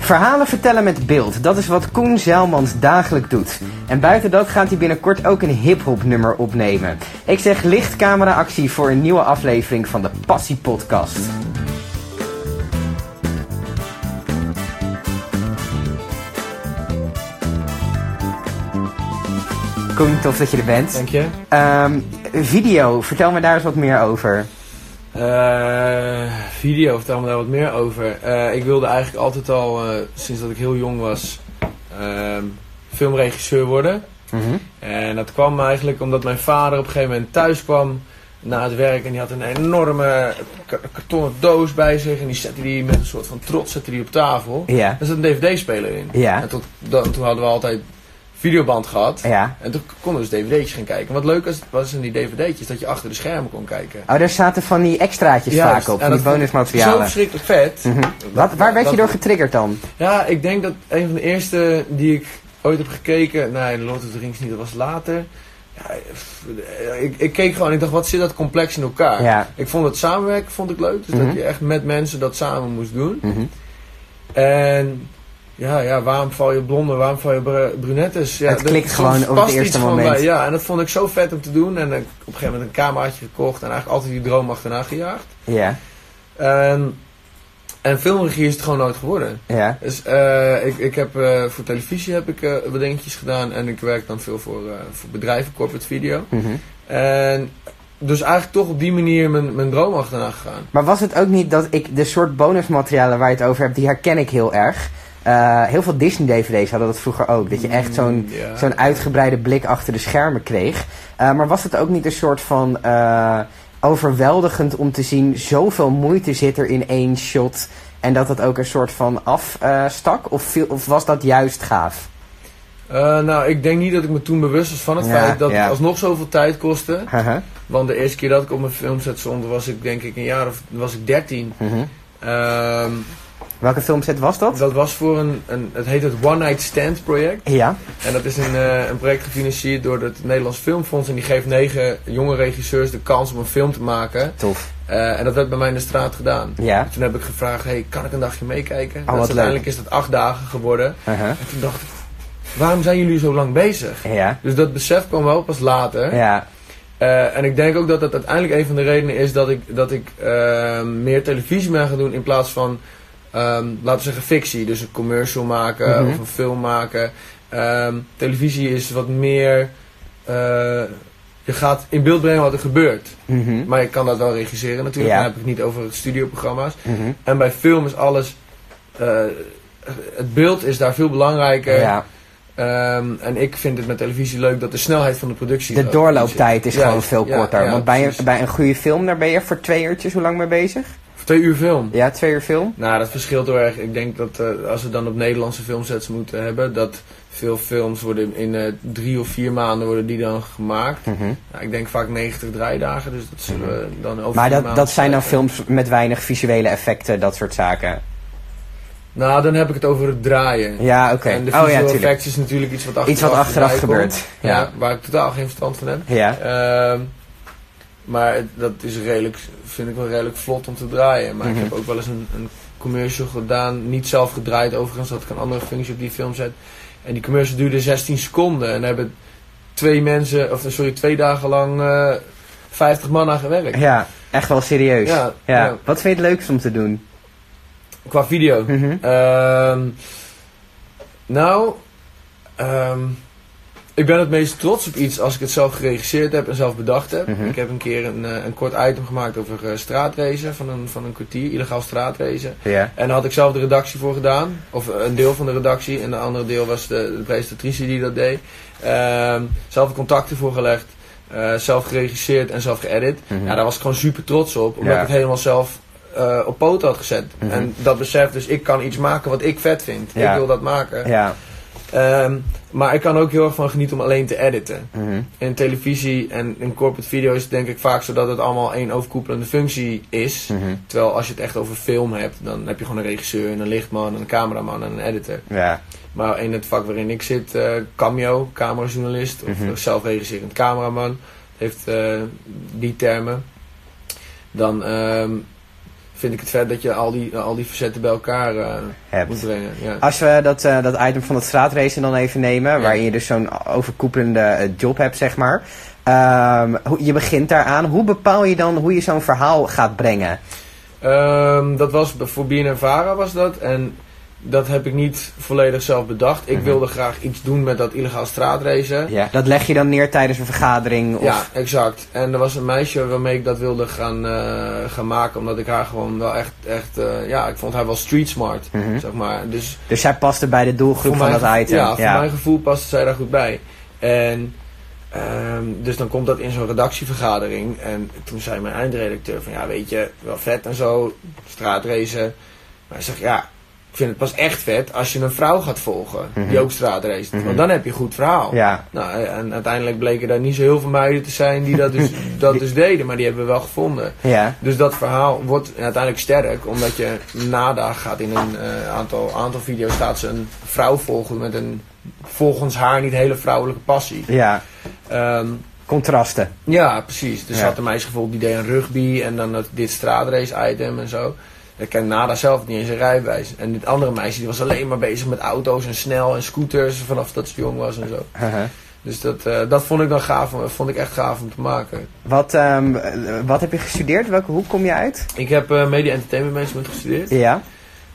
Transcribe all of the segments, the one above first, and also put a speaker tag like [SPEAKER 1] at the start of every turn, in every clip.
[SPEAKER 1] Verhalen vertellen met beeld, dat is wat Koen Zijlmans dagelijks doet. En buiten dat gaat hij binnenkort ook een hip-hop nummer opnemen. Ik zeg lichtcameraactie voor een nieuwe aflevering van de Passie Podcast. Koen, tof dat je er bent.
[SPEAKER 2] Dank je.
[SPEAKER 1] Ehm, video, vertel me daar eens wat meer over.
[SPEAKER 2] Eh, video, vertel me daar wat meer over. Eh, ik wilde eigenlijk altijd al, eh, sinds dat ik heel jong was, ehm, filmregisseur worden.
[SPEAKER 1] Mhm.
[SPEAKER 2] En dat kwam eigenlijk omdat mijn vader op een gegeven moment thuis kwam na het werk. En die had een enorme ka- kartonnen doos bij zich. En die zette die met een soort van trots zette die op tafel.
[SPEAKER 1] Ja,
[SPEAKER 2] Er zat een dvd-speler in.
[SPEAKER 1] ja,
[SPEAKER 2] En tot dan, toen hadden we altijd videoband gehad.
[SPEAKER 1] ja.
[SPEAKER 2] En toen konden we dus dvd'tjes gaan kijken. En Wat leuk was, was in die dvd'tjes dat je achter de schermen kon kijken.
[SPEAKER 1] Oh, daar zaten van die extraatjes
[SPEAKER 2] Juist,
[SPEAKER 1] vaak op,
[SPEAKER 2] en
[SPEAKER 1] van die
[SPEAKER 2] dat vond ik Zo
[SPEAKER 1] bonusmaterialen.
[SPEAKER 2] verschrikkelijk vet.
[SPEAKER 1] Mhm. Wat, waar werd je
[SPEAKER 2] Dat-
[SPEAKER 1] door getriggerd dan?
[SPEAKER 2] Ja, ik denk dat een van de eerste die ik ooit heb gekeken. Nee, Lord of the Rings niet, dat was later. Ja, pff, ik, ik keek gewoon en ik dacht, wat zit dat complex in elkaar?
[SPEAKER 1] Ja.
[SPEAKER 2] Ik vond het samenwerken vond ik leuk. Dus
[SPEAKER 1] Mhm.
[SPEAKER 2] dat je echt met mensen dat samen moest doen.
[SPEAKER 1] Mhm.
[SPEAKER 2] En ja, ja waarom val je blonde, waarom val je br- brunettes? Ja,
[SPEAKER 1] Het
[SPEAKER 2] dat-
[SPEAKER 1] klikt
[SPEAKER 2] soms
[SPEAKER 1] gewoon op het
[SPEAKER 2] past iets
[SPEAKER 1] eerste
[SPEAKER 2] gewoon
[SPEAKER 1] moment.
[SPEAKER 2] bij. Ja, en dat vond ik zo vet om te doen. En ik heb op een gegeven moment een cameraatje gekocht en eigenlijk altijd die droom achterna gejaagd.
[SPEAKER 1] Ja,
[SPEAKER 2] En, en filmregie is het gewoon nooit geworden.
[SPEAKER 1] ja.
[SPEAKER 2] Dus eh, ik, ik heb eh, voor televisie heb ik eh, wat dingetjes gedaan en ik werk dan veel voor, eh, voor bedrijven, corporate video.
[SPEAKER 1] Mhm.
[SPEAKER 2] En dus eigenlijk toch op die manier mijn, mijn droom achterna gegaan.
[SPEAKER 1] Maar was het ook niet dat ik de soort bonusmaterialen waar je het over hebt, die herken ik heel erg. Eh, heel veel Disney-DVD's hadden dat vroeger ook. Dat je echt zo'n
[SPEAKER 2] Mm, ja.
[SPEAKER 1] zo'n uitgebreide blik achter de schermen kreeg. Eh, maar was het ook niet een soort van eh, overweldigend om te zien zoveel moeite zit er in één shot en dat dat ook een soort van afstak? of, viel- of was dat juist gaaf?
[SPEAKER 2] Eh, nou, ik denk niet dat ik me toen bewust was van het
[SPEAKER 1] Ja,
[SPEAKER 2] feit dat
[SPEAKER 1] ja.
[SPEAKER 2] het alsnog zoveel tijd kostte.
[SPEAKER 1] Haha,
[SPEAKER 2] Want de eerste keer dat ik op mijn filmset stond was ik denk ik een jaar of was ik 13.
[SPEAKER 1] mhm.
[SPEAKER 2] Ehm,
[SPEAKER 1] Welke filmset was dat?
[SPEAKER 2] dat was voor een, een, het heet het One Night Stand project.
[SPEAKER 1] Ja.
[SPEAKER 2] En dat is een, eh, een project gefinancierd door het Nederlands Filmfonds. En die geeft negen jonge regisseurs de kans om een film te maken.
[SPEAKER 1] Tof.
[SPEAKER 2] Eh, en dat werd bij mij in de straat gedaan.
[SPEAKER 1] Ja.
[SPEAKER 2] Toen heb ik gevraagd, hey, kan ik een dagje
[SPEAKER 1] wat
[SPEAKER 2] meekijken? Dat is
[SPEAKER 1] leuk.
[SPEAKER 2] uiteindelijk is dat acht dagen geworden.
[SPEAKER 1] Haha.
[SPEAKER 2] Ah, En toen dacht ik, waarom zijn jullie zo lang bezig?
[SPEAKER 1] Ja.
[SPEAKER 2] Dus dat besef kwam wel pas later.
[SPEAKER 1] Ja.
[SPEAKER 2] Eh, en ik denk ook dat dat uiteindelijk een van de redenen is dat ik, dat ik eh, meer televisie ben gaan doen in plaats van, ehm, laten we zeggen, fictie. Dus een commercial maken
[SPEAKER 1] Mhm.
[SPEAKER 2] of een film maken. Ehm, televisie is wat meer. eh, je gaat in beeld brengen wat er gebeurt.
[SPEAKER 1] Mhm.
[SPEAKER 2] Maar je kan dat wel regisseren natuurlijk.
[SPEAKER 1] Ja.
[SPEAKER 2] Dan heb ik het niet over studioprogramma's.
[SPEAKER 1] Mhm.
[SPEAKER 2] En bij film is alles. eh, het beeld is daar veel belangrijker.
[SPEAKER 1] Ja.
[SPEAKER 2] Ehm, en ik vind het met televisie leuk dat de snelheid van de productie.
[SPEAKER 1] De
[SPEAKER 2] ook
[SPEAKER 1] doorlooptijd is
[SPEAKER 2] Juist,
[SPEAKER 1] gewoon veel
[SPEAKER 2] ja,
[SPEAKER 1] korter.
[SPEAKER 2] ja,
[SPEAKER 1] want bij een,
[SPEAKER 2] precies.
[SPEAKER 1] bij een goede film, daar ben je voor twee uurtjes hoe lang mee bezig?
[SPEAKER 2] Voor twee uur film.
[SPEAKER 1] Ja, twee uur film.
[SPEAKER 2] Nou, dat verschilt heel erg. Ik denk dat eh, als we dan op Nederlandse filmsets moeten hebben, dat veel films worden in eh, drie of vier maanden worden die dan gemaakt.
[SPEAKER 1] Mhm.
[SPEAKER 2] Nou, ik denk vaak 90 draaidagen, dus dat zullen we dan over
[SPEAKER 1] Maar
[SPEAKER 2] vier
[SPEAKER 1] dat,
[SPEAKER 2] maanden
[SPEAKER 1] dat zijn dan
[SPEAKER 2] kijken.
[SPEAKER 1] films met weinig visuele effecten, dat soort zaken.
[SPEAKER 2] Nou, dan heb ik het over het draaien.
[SPEAKER 1] Ja, oké.
[SPEAKER 2] En de
[SPEAKER 1] Oh
[SPEAKER 2] visual
[SPEAKER 1] ja, natuurlijk.
[SPEAKER 2] effects is natuurlijk iets wat achteraf,
[SPEAKER 1] Iets wat achteraf
[SPEAKER 2] erbij komt.
[SPEAKER 1] gebeurt.
[SPEAKER 2] Ja.
[SPEAKER 1] Ja.
[SPEAKER 2] waar ik totaal geen verstand van heb.
[SPEAKER 1] Ja.
[SPEAKER 2] Ehm, maar het- dat is redelijk, vind ik wel redelijk vlot om te draaien. Maar
[SPEAKER 1] Mhm.
[SPEAKER 2] ik heb ook wel eens een, een commercial gedaan, niet zelf gedraaid overigens, had ik een andere functie op die film zet. En die commercial duurde 16 seconden en daar hebben twee mensen, of sorry, twee dagen lang eh 50 man aan gewerkt.
[SPEAKER 1] Ja, echt wel serieus. Ja.
[SPEAKER 2] Ja, ja.
[SPEAKER 1] Wat vind je het leukst om te doen?
[SPEAKER 2] qua video.
[SPEAKER 1] Mhm.
[SPEAKER 2] Ehm, nou, ehm, ik ben het meest trots op iets als ik het zelf geregisseerd heb en zelf bedacht heb.
[SPEAKER 1] Mhm.
[SPEAKER 2] Ik heb een keer een, eh, een kort item gemaakt over eh, straatracen van een, van een kwartier, illegaal straatracen.
[SPEAKER 1] Ja.
[SPEAKER 2] En daar had ik zelf de redactie voor gedaan, of eh, een deel van de redactie. En de andere deel was de, de presentatrice die dat deed. Ehm, zelf de contacten voor gelegd, eh, zelf geregisseerd en zelf geëdit.
[SPEAKER 1] Mhm.
[SPEAKER 2] Ja, Nou, daar was ik gewoon super trots op, omdat
[SPEAKER 1] Ja.
[SPEAKER 2] ik het helemaal zelf eh, op poten had gezet.
[SPEAKER 1] Mhm.
[SPEAKER 2] En dat besef, dus ik kan iets maken wat ik vet vind.
[SPEAKER 1] Ja.
[SPEAKER 2] Ik wil dat maken.
[SPEAKER 1] Ja.
[SPEAKER 2] Ehm, maar ik kan er ook heel erg van genieten om alleen te editen.
[SPEAKER 1] Mhm.
[SPEAKER 2] In televisie en in corporate video is het denk ik vaak zo dat het allemaal één overkoepelende functie is.
[SPEAKER 1] Mhm.
[SPEAKER 2] Terwijl als je het echt over film hebt, dan heb je gewoon een regisseur, en een lichtman, en een cameraman en een editor.
[SPEAKER 1] Ja.
[SPEAKER 2] Maar in het vak waarin ik zit, eh, cameo, camerajournalist of
[SPEAKER 1] Mhm.
[SPEAKER 2] zelfregisserend cameraman, heeft eh, die termen. Dan ehm, vind ik het vet dat je al die, al die facetten bij elkaar eh, moet
[SPEAKER 1] hebt.
[SPEAKER 2] brengen. Ja.
[SPEAKER 1] Als we dat, eh, dat item van het straatracen dan even nemen, waarin je dus zo'n overkoepelende eh, job hebt, zeg maar. Ehm, hoe- je begint daaraan. Hoe bepaal je dan hoe je zo'n verhaal gaat brengen?
[SPEAKER 2] Ehm, dat was be- voor BNNVARA was dat. En dat heb ik niet volledig zelf bedacht. Ik
[SPEAKER 1] Mhm.
[SPEAKER 2] wilde graag iets doen met dat illegaal straatracen.
[SPEAKER 1] Ja. Dat leg je dan neer tijdens een vergadering? Of...
[SPEAKER 2] Ja, exact. En er was een meisje waarmee ik dat wilde gaan, eh, gaan maken. Omdat ik haar gewoon wel echt... echt eh, ja, ik vond haar wel street smart.
[SPEAKER 1] Mhm.
[SPEAKER 2] Zeg maar. Dus
[SPEAKER 1] Dus zij paste bij de doelgroep
[SPEAKER 2] Voor
[SPEAKER 1] van dat
[SPEAKER 2] mijn gevo-
[SPEAKER 1] item.
[SPEAKER 2] Ja, voor mijn gevoel past zij daar goed bij. En ehm, dus dan komt dat in zo'n redactievergadering. En toen zei mijn eindredacteur van ja, weet je, wel vet en zo, straatracen. Maar hij zegt ja, ik vind het pas echt vet als je een vrouw gaat volgen
[SPEAKER 1] Mhm.
[SPEAKER 2] die ook straatracet.
[SPEAKER 1] Mhm.
[SPEAKER 2] Want dan heb je een goed verhaal.
[SPEAKER 1] Ja.
[SPEAKER 2] Nou, en uiteindelijk bleken daar niet zo heel veel meiden te zijn die dat dus, dat dus deden, maar die hebben we wel gevonden.
[SPEAKER 1] Ja.
[SPEAKER 2] Dus dat verhaal wordt uiteindelijk sterk, omdat je nada gaat in een eh, aantal, aantal video's staat ze een vrouw volgen met een volgens haar niet hele vrouwelijke passie.
[SPEAKER 1] ja.
[SPEAKER 2] Ehm,
[SPEAKER 1] Contrasten.
[SPEAKER 2] ja, precies. Dus
[SPEAKER 1] Ja.
[SPEAKER 2] ze had een meisje gevoeld die deed een rugby en dan dat, dit straatrace item en zo. Ik ken Nada zelf niet eens een rijbewijs. En dit andere meisje die was alleen maar bezig met auto's en snel en scooters vanaf dat ze jong was en zo.
[SPEAKER 1] Haha.
[SPEAKER 2] Dus dat, eh, dat vond ik dan gaaf, om- vond ik echt gaaf om te maken.
[SPEAKER 1] Wat, ehm, eh, wat heb je gestudeerd? Welke hoek kom je uit?
[SPEAKER 2] Ik heb eh, media entertainment management gestudeerd.
[SPEAKER 1] Ja.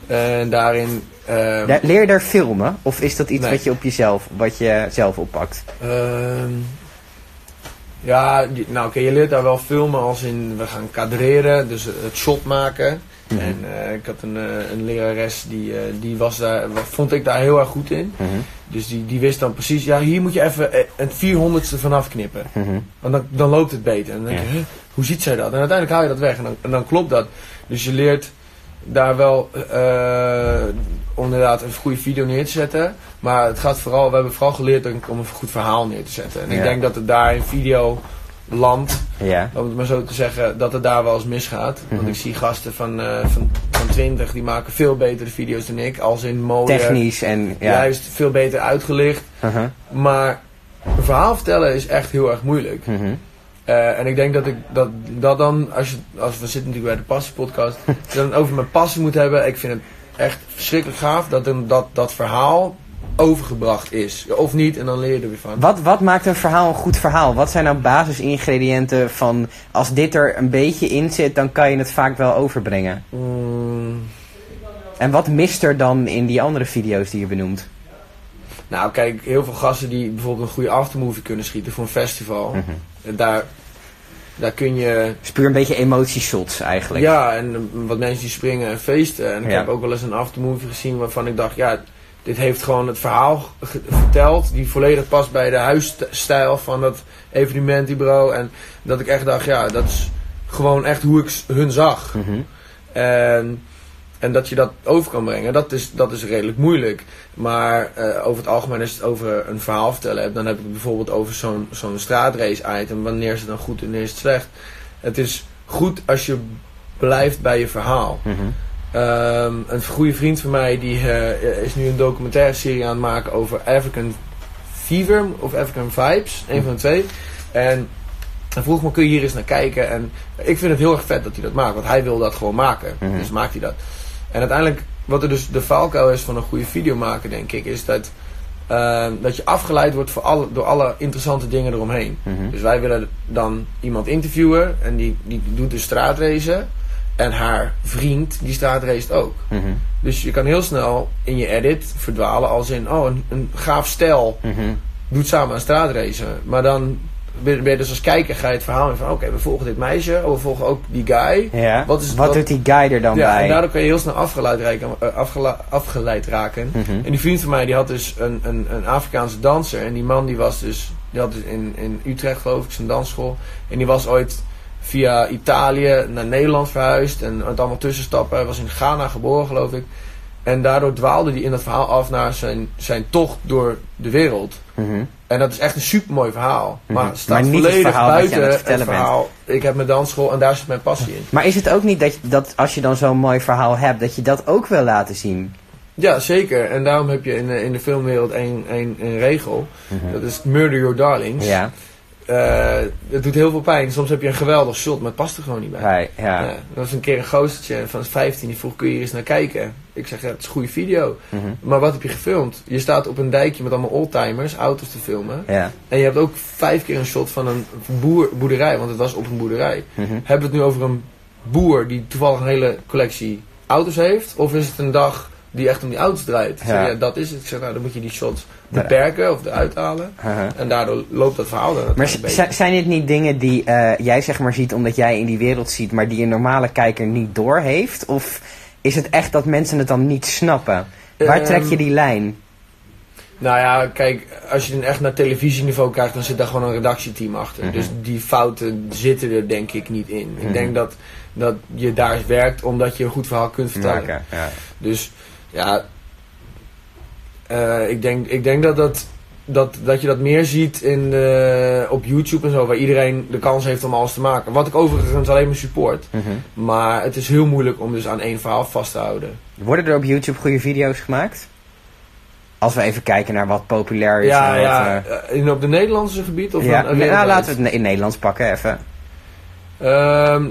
[SPEAKER 2] En daarin... ehm,
[SPEAKER 1] Da- Leer je daar filmen? Of is dat iets
[SPEAKER 2] Nee.
[SPEAKER 1] wat je op jezelf, wat je zelf oppakt?
[SPEAKER 2] Ehm, ja, die- nou oké, je leert daar wel filmen als in we gaan kadreren, dus het shot maken.
[SPEAKER 1] Mhm.
[SPEAKER 2] En eh, ik had een, eh, een lerares die, eh, die was daar, wa- vond ik daar heel erg goed in.
[SPEAKER 1] Mhm,
[SPEAKER 2] Dus die, die wist dan precies, ja hier moet je even eh, het 400ste vanaf knippen.
[SPEAKER 1] mhm.
[SPEAKER 2] Want dan, dan loopt het beter. En dan denk je, "Huh, hoe ziet zij dat? En uiteindelijk haal je dat weg en dan, en dan klopt dat. Dus je leert daar wel eh, om inderdaad een goede video neer te zetten. Maar het gaat vooral, we hebben vooral geleerd denk ik, om een goed verhaal neer te zetten. En
[SPEAKER 1] Ja.
[SPEAKER 2] ik denk dat het daar in video land,
[SPEAKER 1] Ja.
[SPEAKER 2] om het maar zo te zeggen, dat het daar wel eens misgaat.
[SPEAKER 1] Mhm.
[SPEAKER 2] Want ik zie gasten van, eh, van, van 20, die maken veel betere video's dan ik. Als in mooie,
[SPEAKER 1] Technisch en ja.
[SPEAKER 2] juist veel beter uitgelicht.
[SPEAKER 1] Mhm,
[SPEAKER 2] Maar een verhaal vertellen is echt heel erg moeilijk.
[SPEAKER 1] mhm.
[SPEAKER 2] Eh, en ik denk dat ik dat, dat dan, als, je, als we zitten natuurlijk bij de Passie Podcast, dat ik het over mijn passie moet hebben. Ik vind het echt verschrikkelijk gaaf dat een, dat, dat verhaal overgebracht is. Of niet, en dan leer je er weer van.
[SPEAKER 1] Wat, wat maakt een verhaal een goed verhaal? Wat zijn nou basisingrediënten van als dit er een beetje in zit, dan kan je het vaak wel overbrengen?
[SPEAKER 2] Mm,
[SPEAKER 1] En wat mist er dan in die andere video's die je benoemt?
[SPEAKER 2] nou, kijk, heel veel gasten die bijvoorbeeld een goede aftermovie kunnen schieten voor een festival,
[SPEAKER 1] Mhm.
[SPEAKER 2] en daar, daar kun je
[SPEAKER 1] Het is puur een beetje emotieshots eigenlijk.
[SPEAKER 2] Ja, en eh, wat mensen die springen en feesten. En ik
[SPEAKER 1] Ja.
[SPEAKER 2] heb ook wel eens een aftermovie gezien waarvan ik dacht, ja, dit heeft gewoon het verhaal ge- verteld. Die volledig past bij de huisstijl van dat evenementenbureau. En dat ik echt dacht, ja, dat is gewoon echt hoe ik s- hun zag.
[SPEAKER 1] Mhm.
[SPEAKER 2] En, en dat je dat over kan brengen, dat is, dat is redelijk moeilijk. Maar eh, over het algemeen, als je het over een verhaal vertellen hebt, dan heb ik het bijvoorbeeld over zo'n zo'n straatrace-item. Wanneer is het dan goed en wanneer is het slecht? Het is goed als je blijft bij je verhaal.
[SPEAKER 1] Mhm.
[SPEAKER 2] Ehm, een goede vriend van mij die, eh, is nu een documentaire serie aan het maken over African Fever of African Vibes, een van de twee. En hij vroeg me, kun je hier eens naar kijken? En ik vind het heel erg vet dat hij dat maakt, want hij wil dat gewoon maken.
[SPEAKER 1] Mhm.
[SPEAKER 2] Dus maakt hij dat. En uiteindelijk, wat er dus de valkuil is van een goede video maken, denk ik, is dat, ehm, dat je afgeleid wordt voor alle, door alle interessante dingen eromheen.
[SPEAKER 1] Mhm.
[SPEAKER 2] Dus wij willen dan iemand interviewen en die, die doet dus straatracen. En haar vriend, die straatracet ook.
[SPEAKER 1] Mhm.
[SPEAKER 2] Dus je kan heel snel in je edit verdwalen als in... Oh, een, een gaaf stijl
[SPEAKER 1] Mhm.
[SPEAKER 2] doet samen een straatracen. Maar dan ben je- ben je dus als kijker ga je het verhaal in van... Oké, we volgen dit meisje, oh, we volgen ook die guy.
[SPEAKER 1] Ja. Wat,
[SPEAKER 2] Wat is- wat-
[SPEAKER 1] doet die guy er dan
[SPEAKER 2] Ja,
[SPEAKER 1] bij?
[SPEAKER 2] en daardoor kan je heel snel afgeleid, raken, eh, afgela- afgeleid raken.
[SPEAKER 1] Mhm.
[SPEAKER 2] En die vriend van mij die had dus een, een, een Afrikaanse danser. En die man die was dus, die had dus in, in Utrecht geloof ik zijn dansschool. En die was ooit via Italië naar Nederland verhuisd. En het allemaal tussenstappen. Hij was in Ghana geboren geloof ik. En daardoor dwaalde hij in dat verhaal af naar zijn, zijn tocht door de wereld.
[SPEAKER 1] Mhm.
[SPEAKER 2] En dat is echt een supermooi verhaal. Maar
[SPEAKER 1] Mhm.
[SPEAKER 2] het staat
[SPEAKER 1] Maar niet het
[SPEAKER 2] volledig
[SPEAKER 1] verhaal wat je aan
[SPEAKER 2] buiten
[SPEAKER 1] het
[SPEAKER 2] het,
[SPEAKER 1] vertellen bent.
[SPEAKER 2] verhaal. Ik heb mijn dansschool en daar zit mijn passie in.
[SPEAKER 1] Maar is het ook niet dat, je- dat als je dan zo'n mooi verhaal hebt, dat je dat ook wil laten zien?
[SPEAKER 2] Ja, zeker. En daarom heb je in, de- in de filmwereld één één- één regel. Dat is Murder Your Darlings.
[SPEAKER 1] Mhm. Ja.
[SPEAKER 2] eh, het doet heel veel pijn. Soms heb je een geweldig shot, maar het past er gewoon niet bij.
[SPEAKER 1] Hij, ja.
[SPEAKER 2] Ja, er was een keer een goostertje van 15, die vroeg, kun je hier eens naar kijken? Ik zeg, ja, het is een goede video.
[SPEAKER 1] Mhm.
[SPEAKER 2] Maar wat heb je gefilmd? Je staat op een dijkje met allemaal oldtimers, auto's te filmen.
[SPEAKER 1] Ja.
[SPEAKER 2] En je hebt ook vijf keer een shot van een boer, boerderij, want het was op een boerderij.
[SPEAKER 1] Mhm.
[SPEAKER 2] Hebben we het nu over een boer die toevallig een hele collectie auto's heeft? Of is het een dag die echt om die auto's draait? Ik zeg,
[SPEAKER 1] Ja.
[SPEAKER 2] ja, dat is het. Ik zeg, nou, dan moet je die shots
[SPEAKER 1] Ja.
[SPEAKER 2] beperken of eruit halen.
[SPEAKER 1] Haha.
[SPEAKER 2] En daardoor loopt dat verhaal dan
[SPEAKER 1] Maar
[SPEAKER 2] natuurlijk
[SPEAKER 1] z-
[SPEAKER 2] een beetje.
[SPEAKER 1] zi- zijn dit niet dingen die eh, jij zeg maar ziet omdat jij in die wereld ziet, maar die een normale kijker niet doorheeft? Of is het echt dat mensen het dan niet snappen? Waar
[SPEAKER 2] Ehm,
[SPEAKER 1] trek je die lijn?
[SPEAKER 2] Nou ja, kijk, als je het echt naar televisieniveau kijkt, dan zit daar gewoon een redactieteam achter.
[SPEAKER 1] Mhm.
[SPEAKER 2] Dus die fouten zitten er denk ik niet in.
[SPEAKER 1] Mhm.
[SPEAKER 2] Ik denk dat, dat je daar werkt omdat je een goed verhaal kunt vertellen.
[SPEAKER 1] Maken, ja.
[SPEAKER 2] Dus ja, eh, ik, denk, ik denk dat, dat, dat, dat je dat meer ziet in, eh, op YouTube en zo, waar iedereen de kans heeft om alles te maken. Wat ik overigens alleen maar support.
[SPEAKER 1] Mhm.
[SPEAKER 2] Maar het is heel moeilijk om dus aan één verhaal vast te houden.
[SPEAKER 1] Worden er op YouTube goede video's gemaakt? Als we even kijken naar wat populair is. en
[SPEAKER 2] ja,
[SPEAKER 1] wat,
[SPEAKER 2] ja.
[SPEAKER 1] eh,
[SPEAKER 2] eh, in, op de Nederlandse gebied? Of
[SPEAKER 1] ja.
[SPEAKER 2] dan-
[SPEAKER 1] Nee, nou,
[SPEAKER 2] wereldwijd?
[SPEAKER 1] laten we het ne- in Nederlands pakken even.
[SPEAKER 2] Ehm,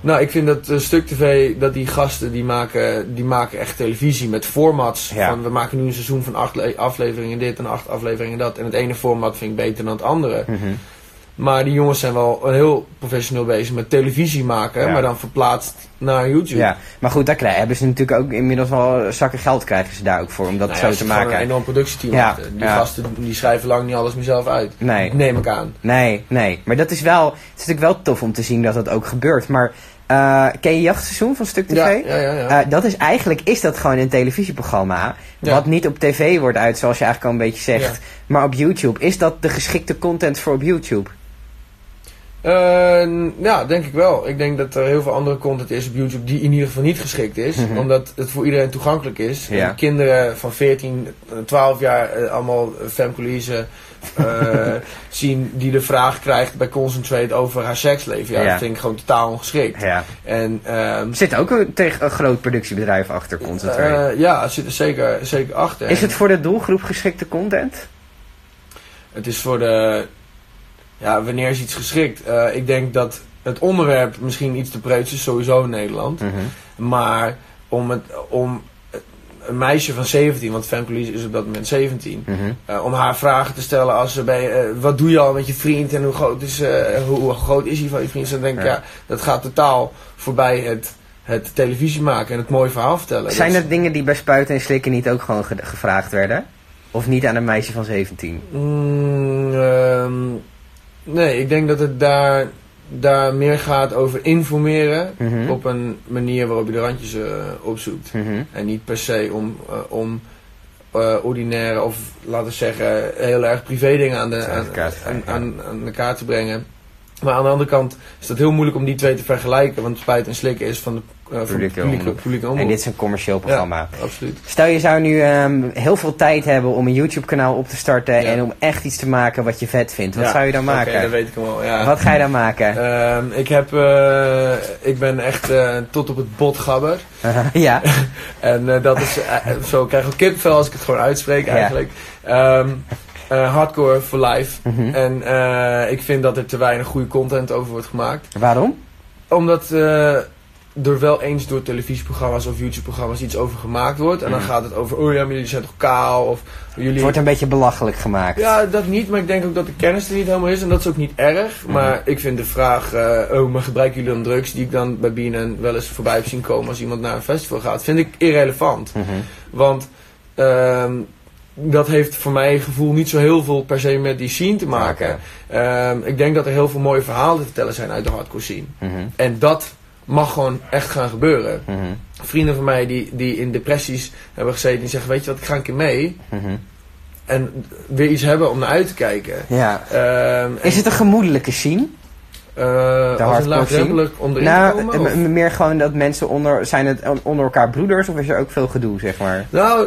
[SPEAKER 2] nou, ik vind dat eh, Stuk TV, dat die gasten, die maken, die maken echt televisie met formats.
[SPEAKER 1] Ja.
[SPEAKER 2] Van, we maken nu een seizoen van acht le- afleveringen dit en acht afleveringen dat. En het ene format vind ik beter dan het andere.
[SPEAKER 1] Mhm.
[SPEAKER 2] Maar die jongens zijn wel heel professioneel bezig met televisie maken,
[SPEAKER 1] Ja.
[SPEAKER 2] maar dan verplaatst naar YouTube.
[SPEAKER 1] Ja, maar goed, daar krijgen, hebben ze natuurlijk ook inmiddels al zakken geld krijgen ze daar ook voor om dat
[SPEAKER 2] Nou ja,
[SPEAKER 1] zo te
[SPEAKER 2] ze hebben gewoon
[SPEAKER 1] maken.
[SPEAKER 2] een enorm productieteam
[SPEAKER 1] Ja,
[SPEAKER 2] achter. Die
[SPEAKER 1] ja.
[SPEAKER 2] gasten die schrijven lang niet alles meer zelf uit.
[SPEAKER 1] Nee.
[SPEAKER 2] Neem ik aan.
[SPEAKER 1] Nee, nee. Maar dat is wel, het is natuurlijk wel tof om te zien dat dat ook gebeurt. Maar eh, ken je Jachtseizoen van Stuk TV?
[SPEAKER 2] Ja, ja, ja. ja.
[SPEAKER 1] Eh, dat is eigenlijk, is dat gewoon een televisieprogramma.
[SPEAKER 2] Ja.
[SPEAKER 1] Wat niet op tv wordt uit, zoals je eigenlijk al een beetje zegt.
[SPEAKER 2] Ja.
[SPEAKER 1] Maar op YouTube. Is dat de geschikte content voor op YouTube?
[SPEAKER 2] Eh, ja, denk ik wel. Ik denk dat er heel veel andere content is op YouTube die in ieder geval niet geschikt is.
[SPEAKER 1] Mhm.
[SPEAKER 2] Omdat het voor iedereen toegankelijk is.
[SPEAKER 1] Ja.
[SPEAKER 2] En kinderen van 14, eh, 12 jaar eh, allemaal femcolise eh zien die de vraag krijgt bij Concentrate over haar seksleven. Ja,
[SPEAKER 1] Ja.
[SPEAKER 2] dat vind ik gewoon totaal ongeschikt.
[SPEAKER 1] Ja.
[SPEAKER 2] En ehm,
[SPEAKER 1] Er zit ook een, tegen, een groot productiebedrijf achter, Concentrate.
[SPEAKER 2] eh, ja, het zit er zeker, zeker achter.
[SPEAKER 1] is het voor de doelgroep geschikte content?
[SPEAKER 2] Het is voor de. Ja, wanneer is iets geschikt? Eh, ik denk dat het onderwerp misschien iets te preuts is, sowieso in Nederland. Maar om, het, om een meisje van 17, want Femke is op dat moment 17,
[SPEAKER 1] Mhm.
[SPEAKER 2] eh, om haar vragen te stellen als ze bij, eh, wat doe je al met je vriend en hoe groot is, eh, hoe, hoe groot is hij van je vriend? Dan denk ik,
[SPEAKER 1] Ja.
[SPEAKER 2] ja. dat gaat totaal voorbij het, het televisie maken en het mooie verhaal vertellen.
[SPEAKER 1] Zijn
[SPEAKER 2] Dat
[SPEAKER 1] er dingen die bij Spuiten en Slikken niet ook gewoon ge- gevraagd werden? Of niet aan een meisje van 17?
[SPEAKER 2] is- Mm, ehm, nee, ik denk dat het daar, daar meer gaat over informeren
[SPEAKER 1] Mhm.
[SPEAKER 2] op een manier waarop je de randjes eh, opzoekt.
[SPEAKER 1] Mhm.
[SPEAKER 2] En niet per se om, eh, om eh, ordinaire of laten we zeggen heel erg privé dingen aan de,
[SPEAKER 1] Aan de
[SPEAKER 2] aan,
[SPEAKER 1] kaart te
[SPEAKER 2] aan,
[SPEAKER 1] brengen,
[SPEAKER 2] aan, aan de kaart te brengen. Maar aan de andere kant is dat heel moeilijk om die twee te vergelijken. Want spijt en slikken is van de eh, van de
[SPEAKER 1] Publieke
[SPEAKER 2] publieke,
[SPEAKER 1] omroep.
[SPEAKER 2] publieke
[SPEAKER 1] En
[SPEAKER 2] omroep.
[SPEAKER 1] dit is een commercieel programma.
[SPEAKER 2] Absoluut.
[SPEAKER 1] Stel je zou nu ehm, heel veel tijd hebben om een YouTube kanaal op te starten
[SPEAKER 2] Ja.
[SPEAKER 1] en om echt iets te maken wat je vet vindt. Wat
[SPEAKER 2] Ja,
[SPEAKER 1] zou je dan maken?
[SPEAKER 2] Oké, dat weet ik hem al. Ja.
[SPEAKER 1] Wat ga je dan maken?
[SPEAKER 2] Ehm, ik, heb, eh, ik ben echt eh, tot op het bot gabber.
[SPEAKER 1] ja.
[SPEAKER 2] En eh, dat is, eh, eh, zo krijg ik ook kipvel als ik het gewoon uitspreek
[SPEAKER 1] Ja.
[SPEAKER 2] eigenlijk. Ehm, eh, hardcore for life.
[SPEAKER 1] Mhm.
[SPEAKER 2] En eh, ik vind dat er te weinig goede content over wordt gemaakt.
[SPEAKER 1] Waarom?
[SPEAKER 2] Omdat eh, er wel eens door televisieprogramma's of YouTube-programma's iets over gemaakt wordt. En dan
[SPEAKER 1] Mhm.
[SPEAKER 2] gaat het over, oh ja, maar jullie zijn toch kaal? Of
[SPEAKER 1] Het
[SPEAKER 2] jullie...
[SPEAKER 1] wordt een beetje belachelijk gemaakt.
[SPEAKER 2] Ja, dat niet. Maar ik denk ook dat de kennis er niet helemaal is. En dat is ook niet erg. Maar ik vind de vraag, eh, oh, maar gebruiken jullie dan drugs? Die ik dan bij BNN wel eens voorbij heb zien komen als iemand naar een festival gaat. Vind ik irrelevant.
[SPEAKER 1] Mhm.
[SPEAKER 2] Want ehm, dat heeft voor mij gevoel niet zo heel veel per se met die scene te maken. Ehm, ik denk dat er heel veel mooie verhalen te vertellen zijn uit de hardcore scene.
[SPEAKER 1] Mhm.
[SPEAKER 2] En dat mag gewoon echt gaan gebeuren.
[SPEAKER 1] Mhm.
[SPEAKER 2] Vrienden van mij die, die in depressies hebben gezeten, die zeggen, weet je wat, ik ga een keer mee.
[SPEAKER 1] Mhm.
[SPEAKER 2] En weer iets hebben om naar uit te kijken.
[SPEAKER 1] Ja.
[SPEAKER 2] Ehm, en,
[SPEAKER 1] Is het een gemoedelijke scene?
[SPEAKER 2] eh, als
[SPEAKER 1] hardcore
[SPEAKER 2] een laagdrempelig om erin te
[SPEAKER 1] Nou,
[SPEAKER 2] komen? of-
[SPEAKER 1] m- m- meer gewoon dat mensen onder, zijn het on- onder elkaar broeders of is er ook veel gedoe, zeg maar?
[SPEAKER 2] Nou,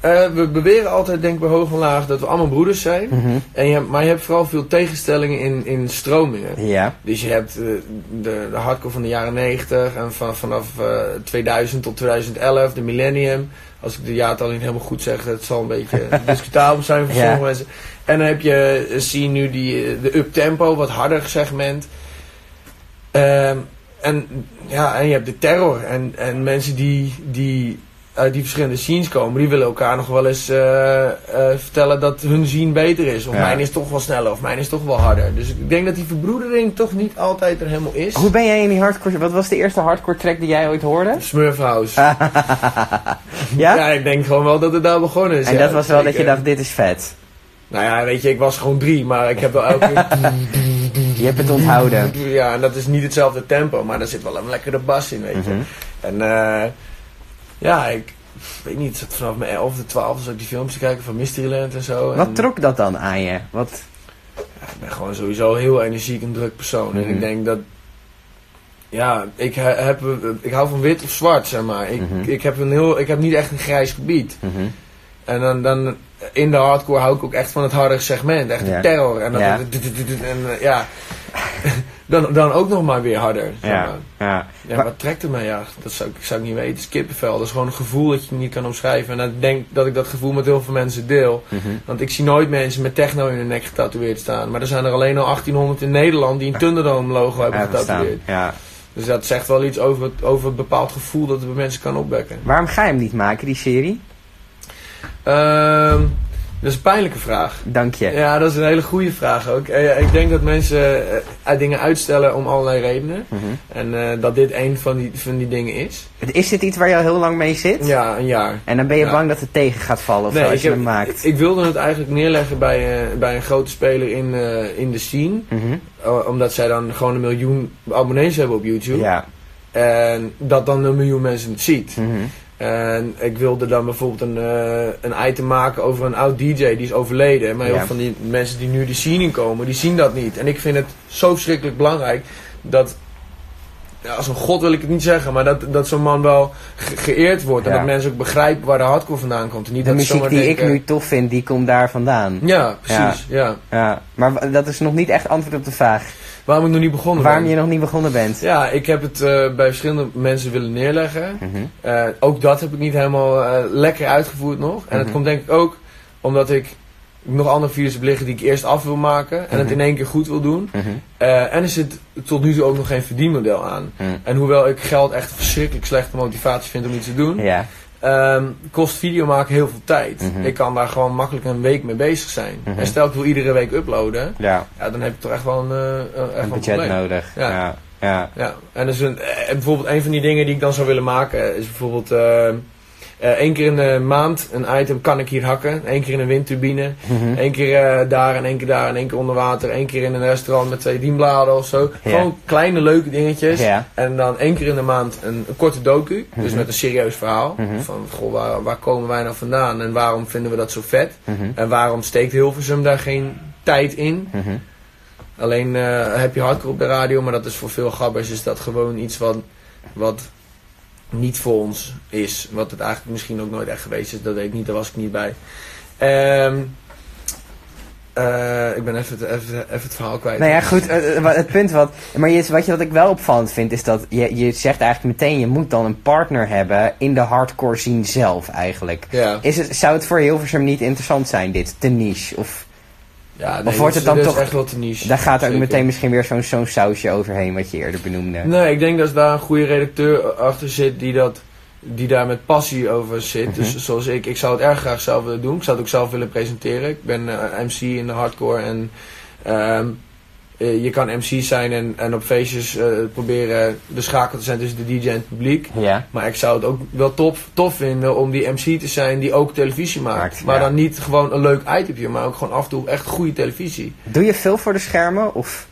[SPEAKER 2] eh, we beweren altijd, denk ik bij hoog en laag, dat we allemaal broeders zijn.
[SPEAKER 1] Mhm.
[SPEAKER 2] En je hebt- maar je hebt vooral veel tegenstellingen in, in stromingen.
[SPEAKER 1] Ja.
[SPEAKER 2] Dus je hebt eh, de, de hardcore van de jaren 90 en van, vanaf eh, 2000 tot 2011, de millennium. Als ik de jaartal niet helemaal goed zeg, dat zal een beetje discutabel zijn voor
[SPEAKER 1] Ja.
[SPEAKER 2] sommige mensen. En dan heb je, eh, zie je nu die, eh, de uptempo, wat harder segment. Ehm, en, ja, en je hebt de terror en, en mensen die, die uit die verschillende scenes komen, die willen elkaar nog wel eens eh, eh, vertellen dat hun scene beter is. Of
[SPEAKER 1] Ja.
[SPEAKER 2] mijn is toch wel sneller, of mijn is toch wel harder. Dus ik denk dat die verbroedering toch niet altijd er helemaal is.
[SPEAKER 1] Hoe ben jij in die hardcore... Wat was de eerste hardcore track die jij ooit hoorde?
[SPEAKER 2] Smurfhouse.
[SPEAKER 1] Eh? Ja?
[SPEAKER 2] Ja, ik denk gewoon wel dat het daar begonnen is.
[SPEAKER 1] en
[SPEAKER 2] Dus ja,
[SPEAKER 1] dat was wel dat je
[SPEAKER 2] zeker.
[SPEAKER 1] dacht, dit is vet.
[SPEAKER 2] Nou ja, weet je, ik was gewoon drie, maar ik heb wel elke
[SPEAKER 1] Je hebt het onthouden.
[SPEAKER 2] keer... Ja, en dat is niet hetzelfde tempo, maar daar zit wel een lekkere bas in, weet je.
[SPEAKER 1] Mhm.
[SPEAKER 2] En eh, ja, ik weet niet, het zat vanaf mijn 11e, 12 zat ik die films te kijken van Mysteryland en zo. en,
[SPEAKER 1] Wat trok dat dan aan je? Wat...
[SPEAKER 2] Ik ben gewoon sowieso heel energiek en druk persoon. En
[SPEAKER 1] Mhm.
[SPEAKER 2] ik denk dat. Ja, ik, he- heb, ik hou van wit of zwart, zeg maar. Ik,
[SPEAKER 1] Mhm.
[SPEAKER 2] ik, heb een heel, ik heb niet echt een grijs gebied.
[SPEAKER 1] Mhm.
[SPEAKER 2] En dan, dan in de hardcore hou ik ook echt van het harde segment. Echt
[SPEAKER 1] Ja.
[SPEAKER 2] de terror. En, dan,
[SPEAKER 1] Ja.
[SPEAKER 2] en eh, ja. dan, dan ook nog maar weer harder. zeg
[SPEAKER 1] Ja.
[SPEAKER 2] maar.
[SPEAKER 1] Ja.
[SPEAKER 2] Ja,
[SPEAKER 1] Maar-
[SPEAKER 2] wat trekt er mij? Ja, dat zou, ik- ik zou ik niet weten. Het is kippenvel. Dat is gewoon een gevoel dat je niet kan omschrijven. En ik denk dat ik dat gevoel met heel veel mensen deel.
[SPEAKER 1] Mhm.
[SPEAKER 2] Want ik zie nooit mensen met techno in hun nek getatoeëerd staan. Maar er zijn er alleen al 1800 in Nederland die een Thunderdome logo hebben
[SPEAKER 1] Uitgestaan.
[SPEAKER 2] getatoeëerd.
[SPEAKER 1] Ja.
[SPEAKER 2] Dus dat zegt wel iets over het, over het bepaald gevoel dat het bij mensen kan opwekken.
[SPEAKER 1] Waarom ga je hem niet maken, die serie?
[SPEAKER 2] Ehm, dat is een pijnlijke vraag.
[SPEAKER 1] Dank je.
[SPEAKER 2] Ja, dat is een hele goede vraag ook. Eh, ik denk dat mensen eh, uit dingen uitstellen om allerlei redenen.
[SPEAKER 1] Mhm.
[SPEAKER 2] En eh, dat dit een van die, van die dingen is.
[SPEAKER 1] Is dit iets waar je al heel lang mee zit?
[SPEAKER 2] Ja, een jaar.
[SPEAKER 1] En dan ben je
[SPEAKER 2] Ja.
[SPEAKER 1] bang dat het tegen gaat vallen of
[SPEAKER 2] Nee,
[SPEAKER 1] zo, als
[SPEAKER 2] ik
[SPEAKER 1] je
[SPEAKER 2] heb-
[SPEAKER 1] hem maakt?
[SPEAKER 2] Ik wilde het eigenlijk neerleggen bij, eh, bij een grote speler in, eh, in de scene.
[SPEAKER 1] Mhm.
[SPEAKER 2] O- omdat zij dan gewoon een miljoen abonnees hebben op YouTube.
[SPEAKER 1] Ja.
[SPEAKER 2] En dat dan een miljoen mensen het ziet.
[SPEAKER 1] Mhm.
[SPEAKER 2] En ik wilde dan bijvoorbeeld een, eh, een item maken over een oud DJ die is overleden. Maar heel
[SPEAKER 1] Ja.
[SPEAKER 2] veel van die mensen die nu de scene in komen, die zien dat niet. En ik vind het zo verschrikkelijk belangrijk dat... ja, Als een god wil ik het niet zeggen, maar dat, dat zo'n man wel ge- geëerd wordt. En
[SPEAKER 1] Ja.
[SPEAKER 2] dat mensen ook begrijpen waar de hardcore vandaan komt. En niet
[SPEAKER 1] De
[SPEAKER 2] dat ze
[SPEAKER 1] muziek
[SPEAKER 2] zomaar
[SPEAKER 1] die ik
[SPEAKER 2] denken-
[SPEAKER 1] nu tof vind, die komt daar vandaan.
[SPEAKER 2] Ja, precies. Ja.
[SPEAKER 1] Ja. Maar wa- dat is nog niet echt antwoord op de vraag.
[SPEAKER 2] Waarom ik nog niet begonnen
[SPEAKER 1] Waarom
[SPEAKER 2] ben.
[SPEAKER 1] je nog niet begonnen bent?
[SPEAKER 2] Ja, ik heb het eh, bij verschillende mensen willen neerleggen.
[SPEAKER 1] Mhm.
[SPEAKER 2] Eh, ook dat heb ik niet helemaal eh, lekker uitgevoerd nog. En
[SPEAKER 1] Mhm.
[SPEAKER 2] dat komt denk ik ook omdat ik nog andere video's heb liggen die ik eerst af wil maken. En het
[SPEAKER 1] Mhm.
[SPEAKER 2] in één keer goed wil doen.
[SPEAKER 1] Mhm.
[SPEAKER 2] Eh, en er zit tot nu toe ook nog geen verdienmodel aan.
[SPEAKER 1] Mm.
[SPEAKER 2] En hoewel ik geld echt verschrikkelijk slechte motivatie vind om iets te doen,
[SPEAKER 1] Ja.
[SPEAKER 2] ehm, kost video maken heel veel tijd.
[SPEAKER 1] Mhm.
[SPEAKER 2] Ik kan daar gewoon makkelijk een week mee bezig zijn.
[SPEAKER 1] Mhm.
[SPEAKER 2] En stel ik wil iedere week uploaden,
[SPEAKER 1] Ja.
[SPEAKER 2] ja, dan heb ik toch echt wel een, eh, echt wel een
[SPEAKER 1] Een budget
[SPEAKER 2] probleem.
[SPEAKER 1] nodig.
[SPEAKER 2] Ja.
[SPEAKER 1] Ja. Ja.
[SPEAKER 2] Ja, en dus een, eh, bijvoorbeeld een van die dingen die ik dan zou willen maken is bijvoorbeeld eh, eh, één keer in de maand een item kan ik hier hakken. Eén keer in een windturbine,
[SPEAKER 1] Mhm.
[SPEAKER 2] één keer eh, daar en één keer daar en één keer onder water. één keer in een restaurant met twee dienbladen of zo.
[SPEAKER 1] Ja.
[SPEAKER 2] Gewoon kleine leuke dingetjes.
[SPEAKER 1] Ja.
[SPEAKER 2] En dan één keer in de maand een, een korte docu, dus
[SPEAKER 1] Mhm.
[SPEAKER 2] met een serieus verhaal.
[SPEAKER 1] Mhm.
[SPEAKER 2] Van goh, waar, waar komen wij nou vandaan en waarom vinden we dat zo vet?
[SPEAKER 1] Mhm.
[SPEAKER 2] En waarom steekt Hilversum daar geen tijd in?
[SPEAKER 1] Mhm.
[SPEAKER 2] Alleen eh, heb je hardcore op de radio, maar dat is voor veel gabbers is dat gewoon iets wat, wat niet voor ons is. Wat het eigenlijk misschien ook nooit echt geweest is, dat weet ik niet, daar was ik niet bij. Ehm, eh, ik ben even, het- even, even het verhaal kwijt.
[SPEAKER 1] Nou ja, goed, eh, eh, wa- het punt wat... Maar je, wat, je, wat ik wel opvallend vind, is dat je, je zegt eigenlijk meteen... je moet dan een partner hebben in de hardcore scene zelf eigenlijk.
[SPEAKER 2] Ja,
[SPEAKER 1] Is het, zou het voor Hilversum niet interessant zijn, dit? De niche? Of
[SPEAKER 2] ja nee,
[SPEAKER 1] wordt
[SPEAKER 2] dat
[SPEAKER 1] het
[SPEAKER 2] is-
[SPEAKER 1] dan
[SPEAKER 2] dat is
[SPEAKER 1] toch-
[SPEAKER 2] echt wel te niche.
[SPEAKER 1] daar gaat er ook
[SPEAKER 2] Zeker.
[SPEAKER 1] meteen misschien weer zo'n zo'n sausje overheen... wat je eerder benoemde.
[SPEAKER 2] Nee, ik denk dat daar een goede redacteur achter zit die, dat, die daar met passie over zit.
[SPEAKER 1] Mhm.
[SPEAKER 2] Dus zoals ik, ik zou het erg graag zelf willen doen. Ik zou het ook zelf willen presenteren. Ik ben eh, MC in de hardcore en ehm, eh, je kan MC zijn en, en op feestjes eh, proberen de schakel te zijn tussen de DJ en het publiek.
[SPEAKER 1] Ja.
[SPEAKER 2] Maar ik zou het ook wel top, tof vinden om die MC te zijn die ook televisie maakt.
[SPEAKER 1] Maakt,
[SPEAKER 2] maar
[SPEAKER 1] ja.
[SPEAKER 2] dan niet gewoon een leuk itemje, maar ook gewoon af en toe echt goede televisie.
[SPEAKER 1] Doe je veel voor de schermen? Of...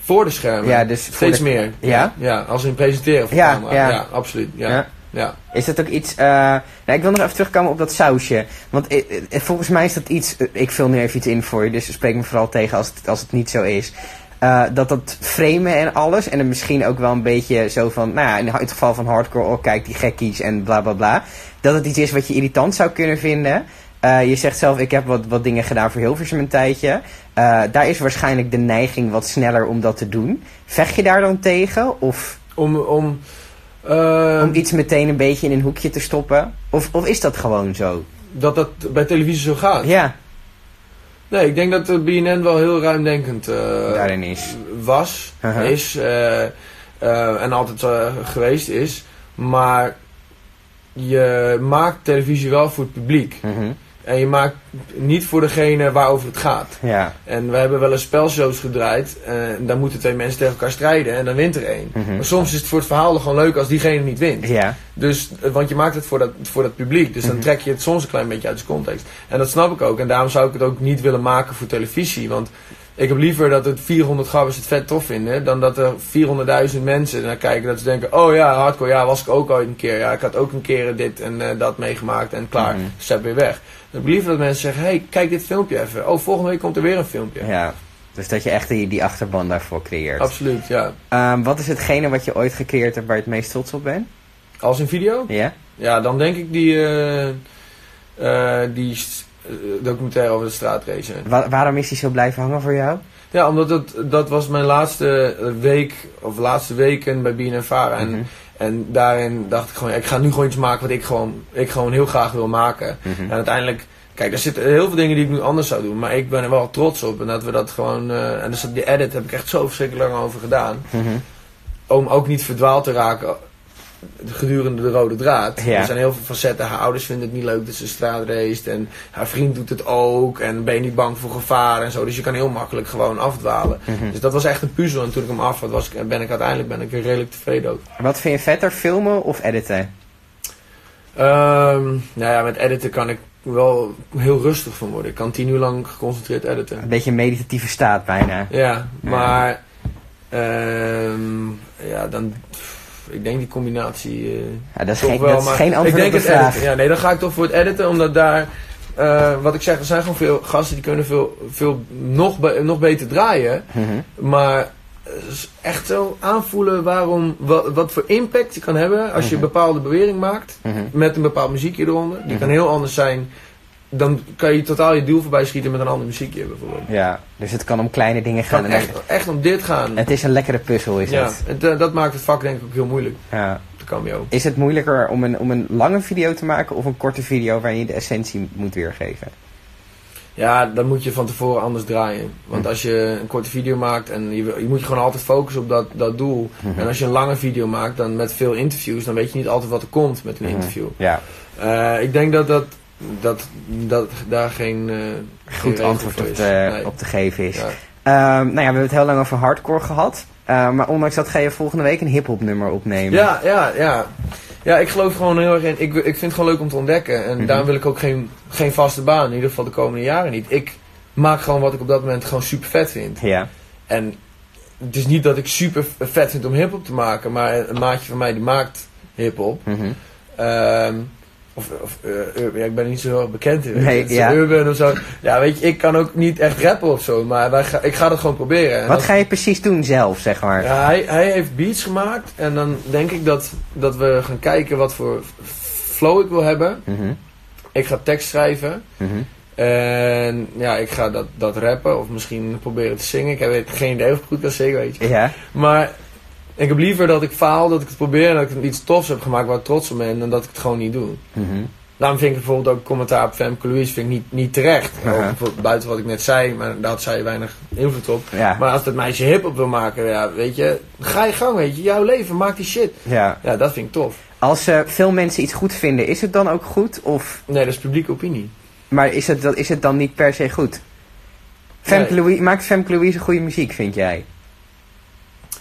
[SPEAKER 2] Voor de schermen.
[SPEAKER 1] Ja, dus voor
[SPEAKER 2] Steeds
[SPEAKER 1] de-
[SPEAKER 2] meer.
[SPEAKER 1] Ja?
[SPEAKER 2] Ja, als in presenteren voor
[SPEAKER 1] Ja,
[SPEAKER 2] de camera.
[SPEAKER 1] ja.
[SPEAKER 2] Ja, absoluut. Ja.
[SPEAKER 1] Ja.
[SPEAKER 2] Ja.
[SPEAKER 1] Is dat ook iets... eh, Nou, ik wil nog even terugkomen op dat sausje. Want eh, eh, volgens mij is dat iets... eh, ik vul nu even iets in voor je, dus spreek me vooral tegen als het, als het niet zo is. eh, dat dat framen en alles. En dan misschien ook wel een beetje zo van, nou ja, in het geval van hardcore, oh kijk die gekkies en bla bla bla. Dat het iets is wat je irritant zou kunnen vinden. Eh, je zegt zelf, ik heb wat, wat dingen gedaan voor Hilversum een tijdje. Eh, daar is waarschijnlijk de neiging wat sneller om dat te doen. Vecht je daar dan tegen? Of
[SPEAKER 2] Om, om, eh,
[SPEAKER 1] om iets meteen een beetje in een hoekje te stoppen? Of, of is dat gewoon zo?
[SPEAKER 2] dat dat bij televisie zo gaat.
[SPEAKER 1] Ja,
[SPEAKER 2] Nee, ik denk dat eh, de BNN wel heel ruimdenkend eh,
[SPEAKER 1] daarin Uh-huh. is.
[SPEAKER 2] was,
[SPEAKER 1] Aha.
[SPEAKER 2] is eh, eh, en altijd eh, geweest is. Maar je maakt televisie wel voor het publiek.
[SPEAKER 1] Mhm.
[SPEAKER 2] En je maakt niet voor degene waarover het gaat.
[SPEAKER 1] Ja.
[SPEAKER 2] En we hebben wel eens spelshows gedraaid. eh, En dan moeten twee mensen tegen elkaar strijden en dan wint er één.
[SPEAKER 1] Mhm.
[SPEAKER 2] Maar soms is het voor het verhaal gewoon leuk als diegene niet wint.
[SPEAKER 1] Ja.
[SPEAKER 2] Dus, eh, want je maakt het voor dat, voor dat publiek. Dus dan
[SPEAKER 1] Mhm.
[SPEAKER 2] trek je het soms een klein beetje uit zijn context. En dat snap ik ook. En daarom zou ik het ook niet willen maken voor televisie. Want ik heb liever dat het 400 gabbers het vet tof vinden. Dan dat er 400.000 mensen naar kijken. Dat ze denken, oh ja, hardcore. Ja, was ik ook ooit een keer. Ja, ik had ook een keer dit en eh, dat meegemaakt. En klaar,
[SPEAKER 1] Mhm.
[SPEAKER 2] stap weer weg. Dan heb ik liever dat mensen zeggen, hey, kijk dit filmpje even. Oh, volgende week komt er weer een filmpje.
[SPEAKER 1] ja. Dus dat je echt die, die achterban daarvoor creëert.
[SPEAKER 2] Absoluut, ja.
[SPEAKER 1] Ehm, wat is hetgene wat je ooit gecreëerd hebt waar je het meest trots op bent?
[SPEAKER 2] Als in video?
[SPEAKER 1] Ja?
[SPEAKER 2] Ja, dan denk ik die, eh, eh, die s- eh, documentaire over de straatrace.
[SPEAKER 1] Wa- waarom is die zo blijven hangen voor jou?
[SPEAKER 2] Ja, omdat dat, dat was mijn laatste week, of laatste weken bij BNN Vara. En,
[SPEAKER 1] Mhm.
[SPEAKER 2] en daarin dacht ik gewoon, ja, ik ga nu gewoon iets maken wat ik gewoon, ik gewoon heel graag wil maken.
[SPEAKER 1] Mhm.
[SPEAKER 2] En uiteindelijk, kijk, er zitten heel veel dingen die ik nu anders zou doen. Maar ik ben er wel trots op. En dat we dat gewoon, eh, en dus dat- die edit heb ik echt zo verschrikkelijk lang over gedaan.
[SPEAKER 1] Mhm.
[SPEAKER 2] Om ook niet verdwaald te raken gedurende de rode draad.
[SPEAKER 1] Ja.
[SPEAKER 2] Er zijn heel veel facetten. Haar ouders vinden het niet leuk dat ze straat race. En haar vriend doet het ook. En ben je niet bang voor gevaar en zo. Dus je kan heel makkelijk gewoon afdwalen.
[SPEAKER 1] Mhm.
[SPEAKER 2] Dus dat was echt een puzzel. En toen ik hem af had, was ik, ben ik uiteindelijk ben ik er redelijk tevreden ook.
[SPEAKER 1] Wat vind je vetter, filmen of editen?
[SPEAKER 2] Ehm, nou ja, met editen kan ik wel heel rustig van worden. Ik kan tien uur lang geconcentreerd editen.
[SPEAKER 1] Een beetje een meditatieve staat bijna.
[SPEAKER 2] Ja, maar... ehm, ja, dan... pff, Ik denk die combinatie... eh,
[SPEAKER 1] Ja, dat is,
[SPEAKER 2] Toch
[SPEAKER 1] geen,
[SPEAKER 2] wel,
[SPEAKER 1] dat is
[SPEAKER 2] maar
[SPEAKER 1] geen antwoord op
[SPEAKER 2] ik
[SPEAKER 1] de
[SPEAKER 2] denk het
[SPEAKER 1] vraag.
[SPEAKER 2] editen. Ja, nee, dan ga ik toch voor het editen, omdat daar, eh, wat ik zeg, er zijn gewoon veel gasten die kunnen veel, veel nog, be- nog beter draaien.
[SPEAKER 1] Mhm.
[SPEAKER 2] Maar eh, s- echt zo aanvoelen waarom, wat, wat voor impact je kan hebben als je een
[SPEAKER 1] Mhm.
[SPEAKER 2] bepaalde bewering maakt
[SPEAKER 1] Mhm.
[SPEAKER 2] met een bepaald muziekje eronder. Die kan
[SPEAKER 1] Mhm.
[SPEAKER 2] heel anders zijn. Dan kan je totaal je doel voorbij schieten met een ander muziekje bijvoorbeeld.
[SPEAKER 1] Ja, dus het kan om kleine dingen
[SPEAKER 2] Het
[SPEAKER 1] gaan.
[SPEAKER 2] kan
[SPEAKER 1] En
[SPEAKER 2] echt, echt om dit gaan.
[SPEAKER 1] Het is een lekkere puzzel, is
[SPEAKER 2] ja,
[SPEAKER 1] het.
[SPEAKER 2] en, eh, dat maakt het vak denk ik ook heel moeilijk,
[SPEAKER 1] Ja.
[SPEAKER 2] de cameo.
[SPEAKER 1] Is het moeilijker om een, om een lange video te maken of een korte video waarin je de essentie moet weergeven?
[SPEAKER 2] Ja, dan moet je van tevoren anders draaien. Want
[SPEAKER 1] Hm.
[SPEAKER 2] als je een korte video maakt en je, wil- je moet je gewoon altijd focussen op dat, dat doel.
[SPEAKER 1] Hm.
[SPEAKER 2] En als je een lange video maakt dan met veel interviews, dan weet je niet altijd wat er komt met een
[SPEAKER 1] Mhm.
[SPEAKER 2] interview.
[SPEAKER 1] Ja,
[SPEAKER 2] Eh, ik denk dat, dat, dat, dat daar geen eh, geen
[SPEAKER 1] goed
[SPEAKER 2] regel
[SPEAKER 1] antwoord
[SPEAKER 2] voor
[SPEAKER 1] op
[SPEAKER 2] is.
[SPEAKER 1] te,
[SPEAKER 2] Nee.
[SPEAKER 1] op te geven is.
[SPEAKER 2] Ja.
[SPEAKER 1] Ehm, nou ja, we hebben het heel lang over hardcore gehad. Eh, maar ondanks dat ga je volgende week een hip-hop nummer opnemen.
[SPEAKER 2] Ja, ja, ja. Ja, ik geloof gewoon heel erg in. Ik, ik vind het gewoon leuk om te ontdekken. En
[SPEAKER 1] Mhm.
[SPEAKER 2] daarom wil ik ook geen, geen vaste baan. In ieder geval de komende jaren niet. Ik maak gewoon wat ik op dat moment gewoon super vet vind.
[SPEAKER 1] Ja.
[SPEAKER 2] En het is niet dat ik super vet vind om hip-hop te maken, maar een maatje van mij die maakt hip-hop.
[SPEAKER 1] Mhm.
[SPEAKER 2] Ehm, of, of eh, ur- ja, ik ben niet zo heel erg bekend in. weet je.
[SPEAKER 1] Nee,
[SPEAKER 2] Het is
[SPEAKER 1] ja.
[SPEAKER 2] Urban of zo. Ja, weet je, ik kan ook niet echt rappen of zo, maar wij ga- ik ga dat gewoon proberen. En
[SPEAKER 1] Wat
[SPEAKER 2] dat-
[SPEAKER 1] ga je precies doen zelf, zeg maar?
[SPEAKER 2] ja, hij, hij heeft beats gemaakt en dan denk ik dat, dat we gaan kijken wat voor flow ik wil hebben.
[SPEAKER 1] Mhm.
[SPEAKER 2] Ik ga tekst schrijven.
[SPEAKER 1] Mhm.
[SPEAKER 2] En ja, ik ga dat, dat rappen of misschien proberen te zingen. Ik heb geen idee of ik goed kan zingen, weet je.
[SPEAKER 1] Ja.
[SPEAKER 2] Maar ik heb liever dat ik faal, dat ik het probeer en dat ik iets tofs heb gemaakt waar ik trots op ben, dan dat ik het gewoon niet doe.
[SPEAKER 1] Mhm.
[SPEAKER 2] Daarom vind ik bijvoorbeeld ook commentaar op Femke Louise vind ik niet, niet terecht.
[SPEAKER 1] Aha.
[SPEAKER 2] Ook bijvoorbeeld Buiten wat ik net zei, maar daar had zij weinig invloed op.
[SPEAKER 1] Ja.
[SPEAKER 2] Maar als dat meisje hip op wil maken, ja, weet je, ga je gang, weet je, jouw leven, maak die shit.
[SPEAKER 1] ja.
[SPEAKER 2] Ja, dat vind ik tof.
[SPEAKER 1] Als eh, veel mensen iets goed vinden, is het dan ook goed? Of,
[SPEAKER 2] Nee, dat is publieke opinie.
[SPEAKER 1] maar is het, dat- is het dan niet per se goed? Femke
[SPEAKER 2] Nee.
[SPEAKER 1] Louise, maakt Femke Louise goede muziek, vind jij?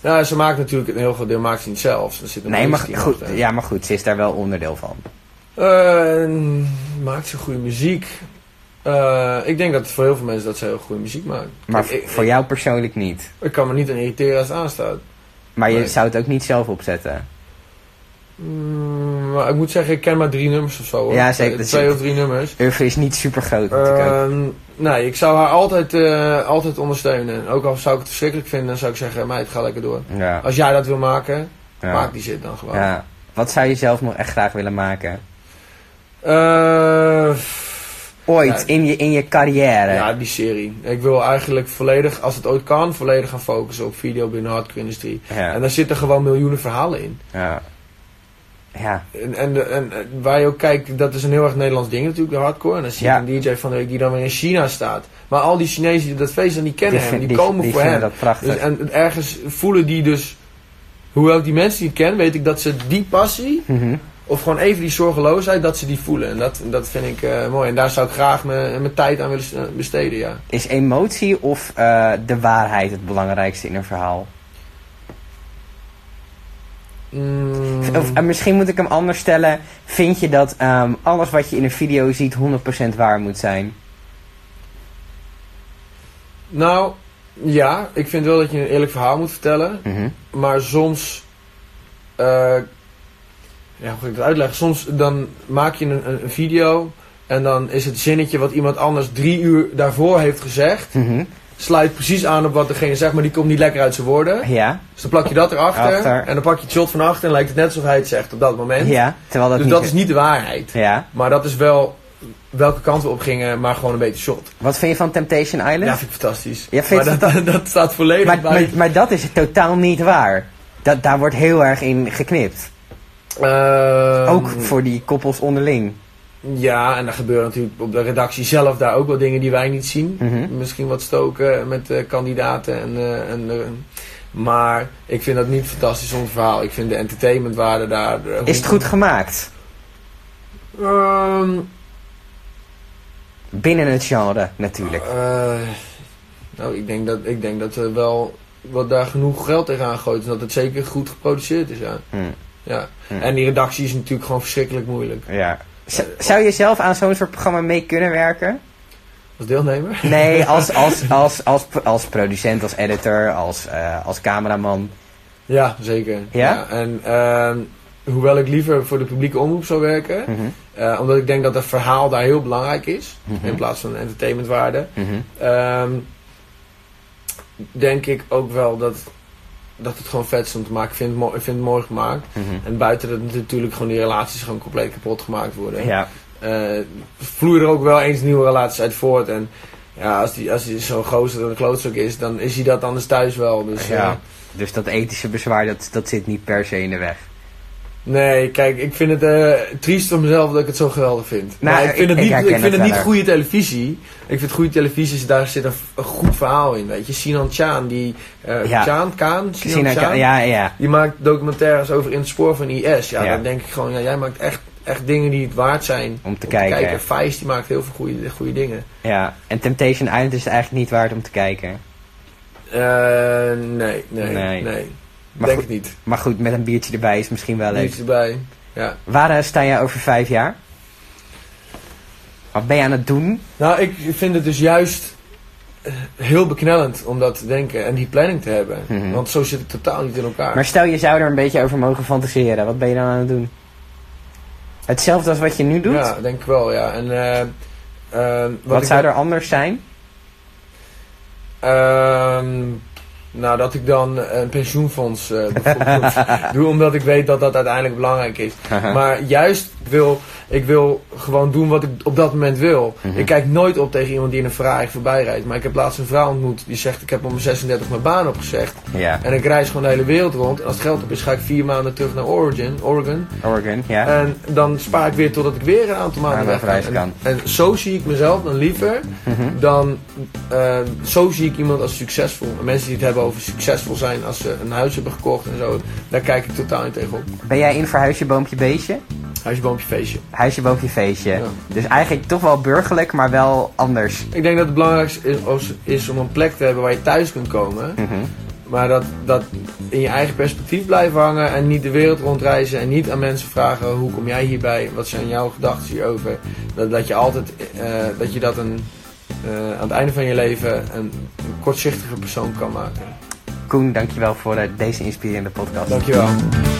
[SPEAKER 2] Nou, ze maakt natuurlijk een heel groot deel, maakt ze niet zelf. Er zit een
[SPEAKER 1] Nee, maar
[SPEAKER 2] productie
[SPEAKER 1] goed,
[SPEAKER 2] achter.
[SPEAKER 1] ja, maar goed, ze is daar wel onderdeel van.
[SPEAKER 2] Eh, maakt ze goede muziek? Eh, ik denk dat voor heel veel mensen dat ze heel goede muziek maakt.
[SPEAKER 1] Maar
[SPEAKER 2] Ik- ik-
[SPEAKER 1] voor jou persoonlijk niet.
[SPEAKER 2] E Ik kan me niet aan irriteren als het aanstaat.
[SPEAKER 1] Maar je
[SPEAKER 2] Nee.
[SPEAKER 1] zou het ook niet zelf opzetten.
[SPEAKER 2] Mm, maar ik moet zeggen, ik ken maar drie nummers of zo. hoor.
[SPEAKER 1] Ja, zeker,
[SPEAKER 2] Twee,
[SPEAKER 1] dat
[SPEAKER 2] twee
[SPEAKER 1] is-
[SPEAKER 2] of drie nummers.
[SPEAKER 1] Urfe is niet super groot natuurlijk ook.
[SPEAKER 2] Ehm, nee, ik zou haar altijd, eh, altijd ondersteunen. Ook al zou ik het verschrikkelijk vinden, dan zou ik zeggen, meid, ga lekker door.
[SPEAKER 1] Ja,
[SPEAKER 2] Als jij dat wil maken,
[SPEAKER 1] ja,
[SPEAKER 2] maak die zit dan gewoon.
[SPEAKER 1] ja. Wat zou je zelf nog echt graag willen maken?
[SPEAKER 2] Eh, pff,
[SPEAKER 1] Ooit,
[SPEAKER 2] Ja.
[SPEAKER 1] in, je, in je carrière.
[SPEAKER 2] ja, die serie. Ik wil eigenlijk volledig, als het ooit kan, volledig gaan focussen op video binnen de hardcore-industrie. En
[SPEAKER 1] Ja.
[SPEAKER 2] daar zitten gewoon miljoenen verhalen in.
[SPEAKER 1] Ja. Ja.
[SPEAKER 2] En, en, de- en, en waar je ook kijkt, dat is een heel erg Nederlands ding natuurlijk, de hardcore. En dan zie je
[SPEAKER 1] Ja.
[SPEAKER 2] een DJ van de week die dan weer in China staat. Maar al die Chinezen die dat feest dan die kennen
[SPEAKER 1] vind-
[SPEAKER 2] hem, die, komen
[SPEAKER 1] die
[SPEAKER 2] voor
[SPEAKER 1] vinden
[SPEAKER 2] hem.
[SPEAKER 1] dat prachtig.
[SPEAKER 2] Dus, en ergens voelen die dus, hoewel ik die mensen niet ken, weet ik dat ze die passie,
[SPEAKER 1] Mhm.
[SPEAKER 2] of gewoon even die zorgeloosheid, dat ze die voelen. En dat, dat vind ik eh, mooi. En daar zou ik graag mijn mijn tijd aan willen s- eh, besteden, ja.
[SPEAKER 1] Is emotie of eh, de waarheid het belangrijkste in een verhaal?
[SPEAKER 2] Mm,
[SPEAKER 1] Of, eh, misschien moet ik hem anders stellen. Vind je dat ehm, alles wat je in een video ziet 100% waar moet zijn?
[SPEAKER 2] nou, ja, ik vind wel dat je een eerlijk verhaal moet vertellen.
[SPEAKER 1] Mhm.
[SPEAKER 2] Maar soms. eh, ja, hoe ga ik dat uitleggen? Soms dan maak je een, een- een video. En dan is het zinnetje wat iemand anders drie uur daarvoor heeft gezegd.
[SPEAKER 1] Mhm.
[SPEAKER 2] Sluit precies aan op wat degene zegt, maar die komt niet lekker uit zijn woorden.
[SPEAKER 1] Ja,
[SPEAKER 2] Dus dan plak je dat erachter.
[SPEAKER 1] Achter.
[SPEAKER 2] En dan pak je het shot van achter en lijkt het net alsof hij het zegt op dat moment.
[SPEAKER 1] ja. Terwijl dat
[SPEAKER 2] dus
[SPEAKER 1] niet...
[SPEAKER 2] dat is niet de waarheid.
[SPEAKER 1] Ja.
[SPEAKER 2] Maar dat is wel welke kant we op gingen, maar gewoon een beetje shot.
[SPEAKER 1] Wat vind je van Temptation Island?
[SPEAKER 2] Ja, vind ik fantastisch.
[SPEAKER 1] Ja, vind je
[SPEAKER 2] maar dat, dat staat volledig
[SPEAKER 1] maar,
[SPEAKER 2] bij.
[SPEAKER 1] maar, maar dat is totaal niet waar. Dat, daar wordt heel erg in geknipt.
[SPEAKER 2] Ehm,
[SPEAKER 1] Ook voor die koppels onderling.
[SPEAKER 2] Ja, en er gebeuren natuurlijk op de redactie zelf daar ook wel dingen die wij niet zien.
[SPEAKER 1] Mhm.
[SPEAKER 2] Misschien wat stoken met eh, kandidaten. En, eh, en, eh, maar ik vind dat niet fantastisch om het verhaal. Ik vind de entertainmentwaarde daar... eh,
[SPEAKER 1] Is het goed gemaakt?
[SPEAKER 2] Ehm,
[SPEAKER 1] Binnen het genre, natuurlijk.
[SPEAKER 2] eh, nou, ik denk, dat, ik denk dat er wel wat daar genoeg geld tegenaan gooit. En dat het zeker goed geproduceerd is, ja.
[SPEAKER 1] Hm,
[SPEAKER 2] ja.
[SPEAKER 1] Hmm.
[SPEAKER 2] En die redactie is natuurlijk gewoon verschrikkelijk moeilijk.
[SPEAKER 1] ja. Z- zou je zelf aan zo'n soort programma mee kunnen werken?
[SPEAKER 2] Als deelnemer.
[SPEAKER 1] Nee, als, als, als, als, als, producent, als editor, als, eh, als cameraman.
[SPEAKER 2] Ja, zeker.
[SPEAKER 1] Ja?
[SPEAKER 2] en ehm, hoewel ik liever voor de publieke omroep zou werken,
[SPEAKER 1] Mhm,
[SPEAKER 2] eh, omdat ik denk dat het verhaal daar heel belangrijk is,
[SPEAKER 1] mhm,
[SPEAKER 2] in plaats van entertainmentwaarde,
[SPEAKER 1] mhm.
[SPEAKER 2] ehm, denk ik ook wel dat, dat het gewoon vet is om te maken. Ik vind het, mooi, ik vind het mooi gemaakt.
[SPEAKER 1] mhm.
[SPEAKER 2] En buiten dat natuurlijk gewoon die relaties gewoon compleet kapot gemaakt worden.
[SPEAKER 1] Ja,
[SPEAKER 2] Eh, vloeien er ook wel eens nieuwe relaties uit voort. En ja, als, die, als die zo'n gozer dan een klootzak is, dan is hij dat anders thuis wel. Dus,
[SPEAKER 1] ja.
[SPEAKER 2] eh,
[SPEAKER 1] Dus dat ethische bezwaar, dat, dat zit niet per se in de weg.
[SPEAKER 2] Nee, kijk, ik vind het eh, triest van mezelf dat ik het zo geweldig vind.
[SPEAKER 1] Nou,
[SPEAKER 2] maar ik vind
[SPEAKER 1] ik-
[SPEAKER 2] het
[SPEAKER 1] ik
[SPEAKER 2] niet, ik
[SPEAKER 1] herken
[SPEAKER 2] vind
[SPEAKER 1] het
[SPEAKER 2] het niet
[SPEAKER 1] wel erg.
[SPEAKER 2] goede televisie. Ik vind goede televisie, is- daar zit een, een goed verhaal in, weet je. Sinan Chan, die... eh
[SPEAKER 1] Ja.
[SPEAKER 2] Chan, Kaan? Sinan
[SPEAKER 1] Sina-
[SPEAKER 2] Chan?
[SPEAKER 1] ja, ja.
[SPEAKER 2] Die maakt documentaires over in het spoor van IS. Ja,
[SPEAKER 1] Ja.
[SPEAKER 2] dan denk ik gewoon, ja, jij maakt echt, echt dingen die het waard zijn
[SPEAKER 1] Om te
[SPEAKER 2] om
[SPEAKER 1] kijken.
[SPEAKER 2] te kijken. Vijs, die maakt heel veel goede, goede dingen.
[SPEAKER 1] Ja, en Temptation Island is het eigenlijk niet waard om te kijken.
[SPEAKER 2] Eh, nee, nee,
[SPEAKER 1] Nee.
[SPEAKER 2] nee.
[SPEAKER 1] Maar
[SPEAKER 2] denk
[SPEAKER 1] goed,
[SPEAKER 2] het niet.
[SPEAKER 1] Maar goed, met een biertje erbij is misschien wel leuk.
[SPEAKER 2] Niets erbij. Ja.
[SPEAKER 1] Waar eh, sta jij over vijf jaar? Wat ben je aan het doen?
[SPEAKER 2] Nou, ik vind het dus juist eh, heel beknellend om dat te denken en die planning te hebben.
[SPEAKER 1] Mhm.
[SPEAKER 2] Want zo zit het totaal niet in elkaar.
[SPEAKER 1] Maar stel je zou er een beetje over mogen fantaseren. Wat ben je dan aan het doen? Hetzelfde als wat je nu doet?
[SPEAKER 2] Ja, denk ik wel, ja. En, eh, ehm,
[SPEAKER 1] wat
[SPEAKER 2] ik
[SPEAKER 1] zou
[SPEAKER 2] dan-
[SPEAKER 1] er anders zijn?
[SPEAKER 2] ehm, nou, dat ik dan een pensioenfonds eh, bijvoorbeeld doe, omdat ik weet dat dat uiteindelijk belangrijk is. Maar juist wil ik wil gewoon doen wat ik op dat moment wil.
[SPEAKER 1] Mhm.
[SPEAKER 2] Ik kijk nooit op tegen iemand die in een Ferrari voorbij rijdt. Maar ik heb laatst een vrouw ontmoet die zegt: Ik heb om mijn 36 mijn baan opgezegd.
[SPEAKER 1] ja,
[SPEAKER 2] En ik reis gewoon de hele wereld rond. En als het geld op is, ga ik vier maanden terug naar Origin, Oregon.
[SPEAKER 1] Oregon, ja.
[SPEAKER 2] En dan spaar ik weer totdat ik weer een aantal maanden
[SPEAKER 1] Aan
[SPEAKER 2] weg
[SPEAKER 1] reis
[SPEAKER 2] En-
[SPEAKER 1] kan.
[SPEAKER 2] En, zo zie ik mezelf dan liever
[SPEAKER 1] Mhm.
[SPEAKER 2] dan... eh, zo zie ik iemand als succesvol. En mensen die het hebben over succesvol zijn als ze een huis hebben gekocht en zo. Daar kijk ik totaal niet tegenop.
[SPEAKER 1] Ben jij in voor huisje, boompje, beestje?
[SPEAKER 2] Huisje, boompje, feestje.
[SPEAKER 1] Huisje, boompje, feestje.
[SPEAKER 2] Ja.
[SPEAKER 1] Dus eigenlijk toch wel burgerlijk, maar wel anders.
[SPEAKER 2] Ik denk dat het belangrijkste is, als- is om een plek te hebben waar je thuis kunt komen.
[SPEAKER 1] Mhm.
[SPEAKER 2] Maar dat, dat in je eigen perspectief blijven hangen en niet de wereld rondreizen en niet aan mensen vragen hoe kom jij hierbij, wat zijn jouw gedachten hierover. Dat, dat je altijd, eh, dat je dat een, eh, aan het einde van je leven een, een kortzichtige persoon kan maken.
[SPEAKER 1] Koen, dankjewel voor eh, deze inspirerende podcast.
[SPEAKER 2] Dankjewel.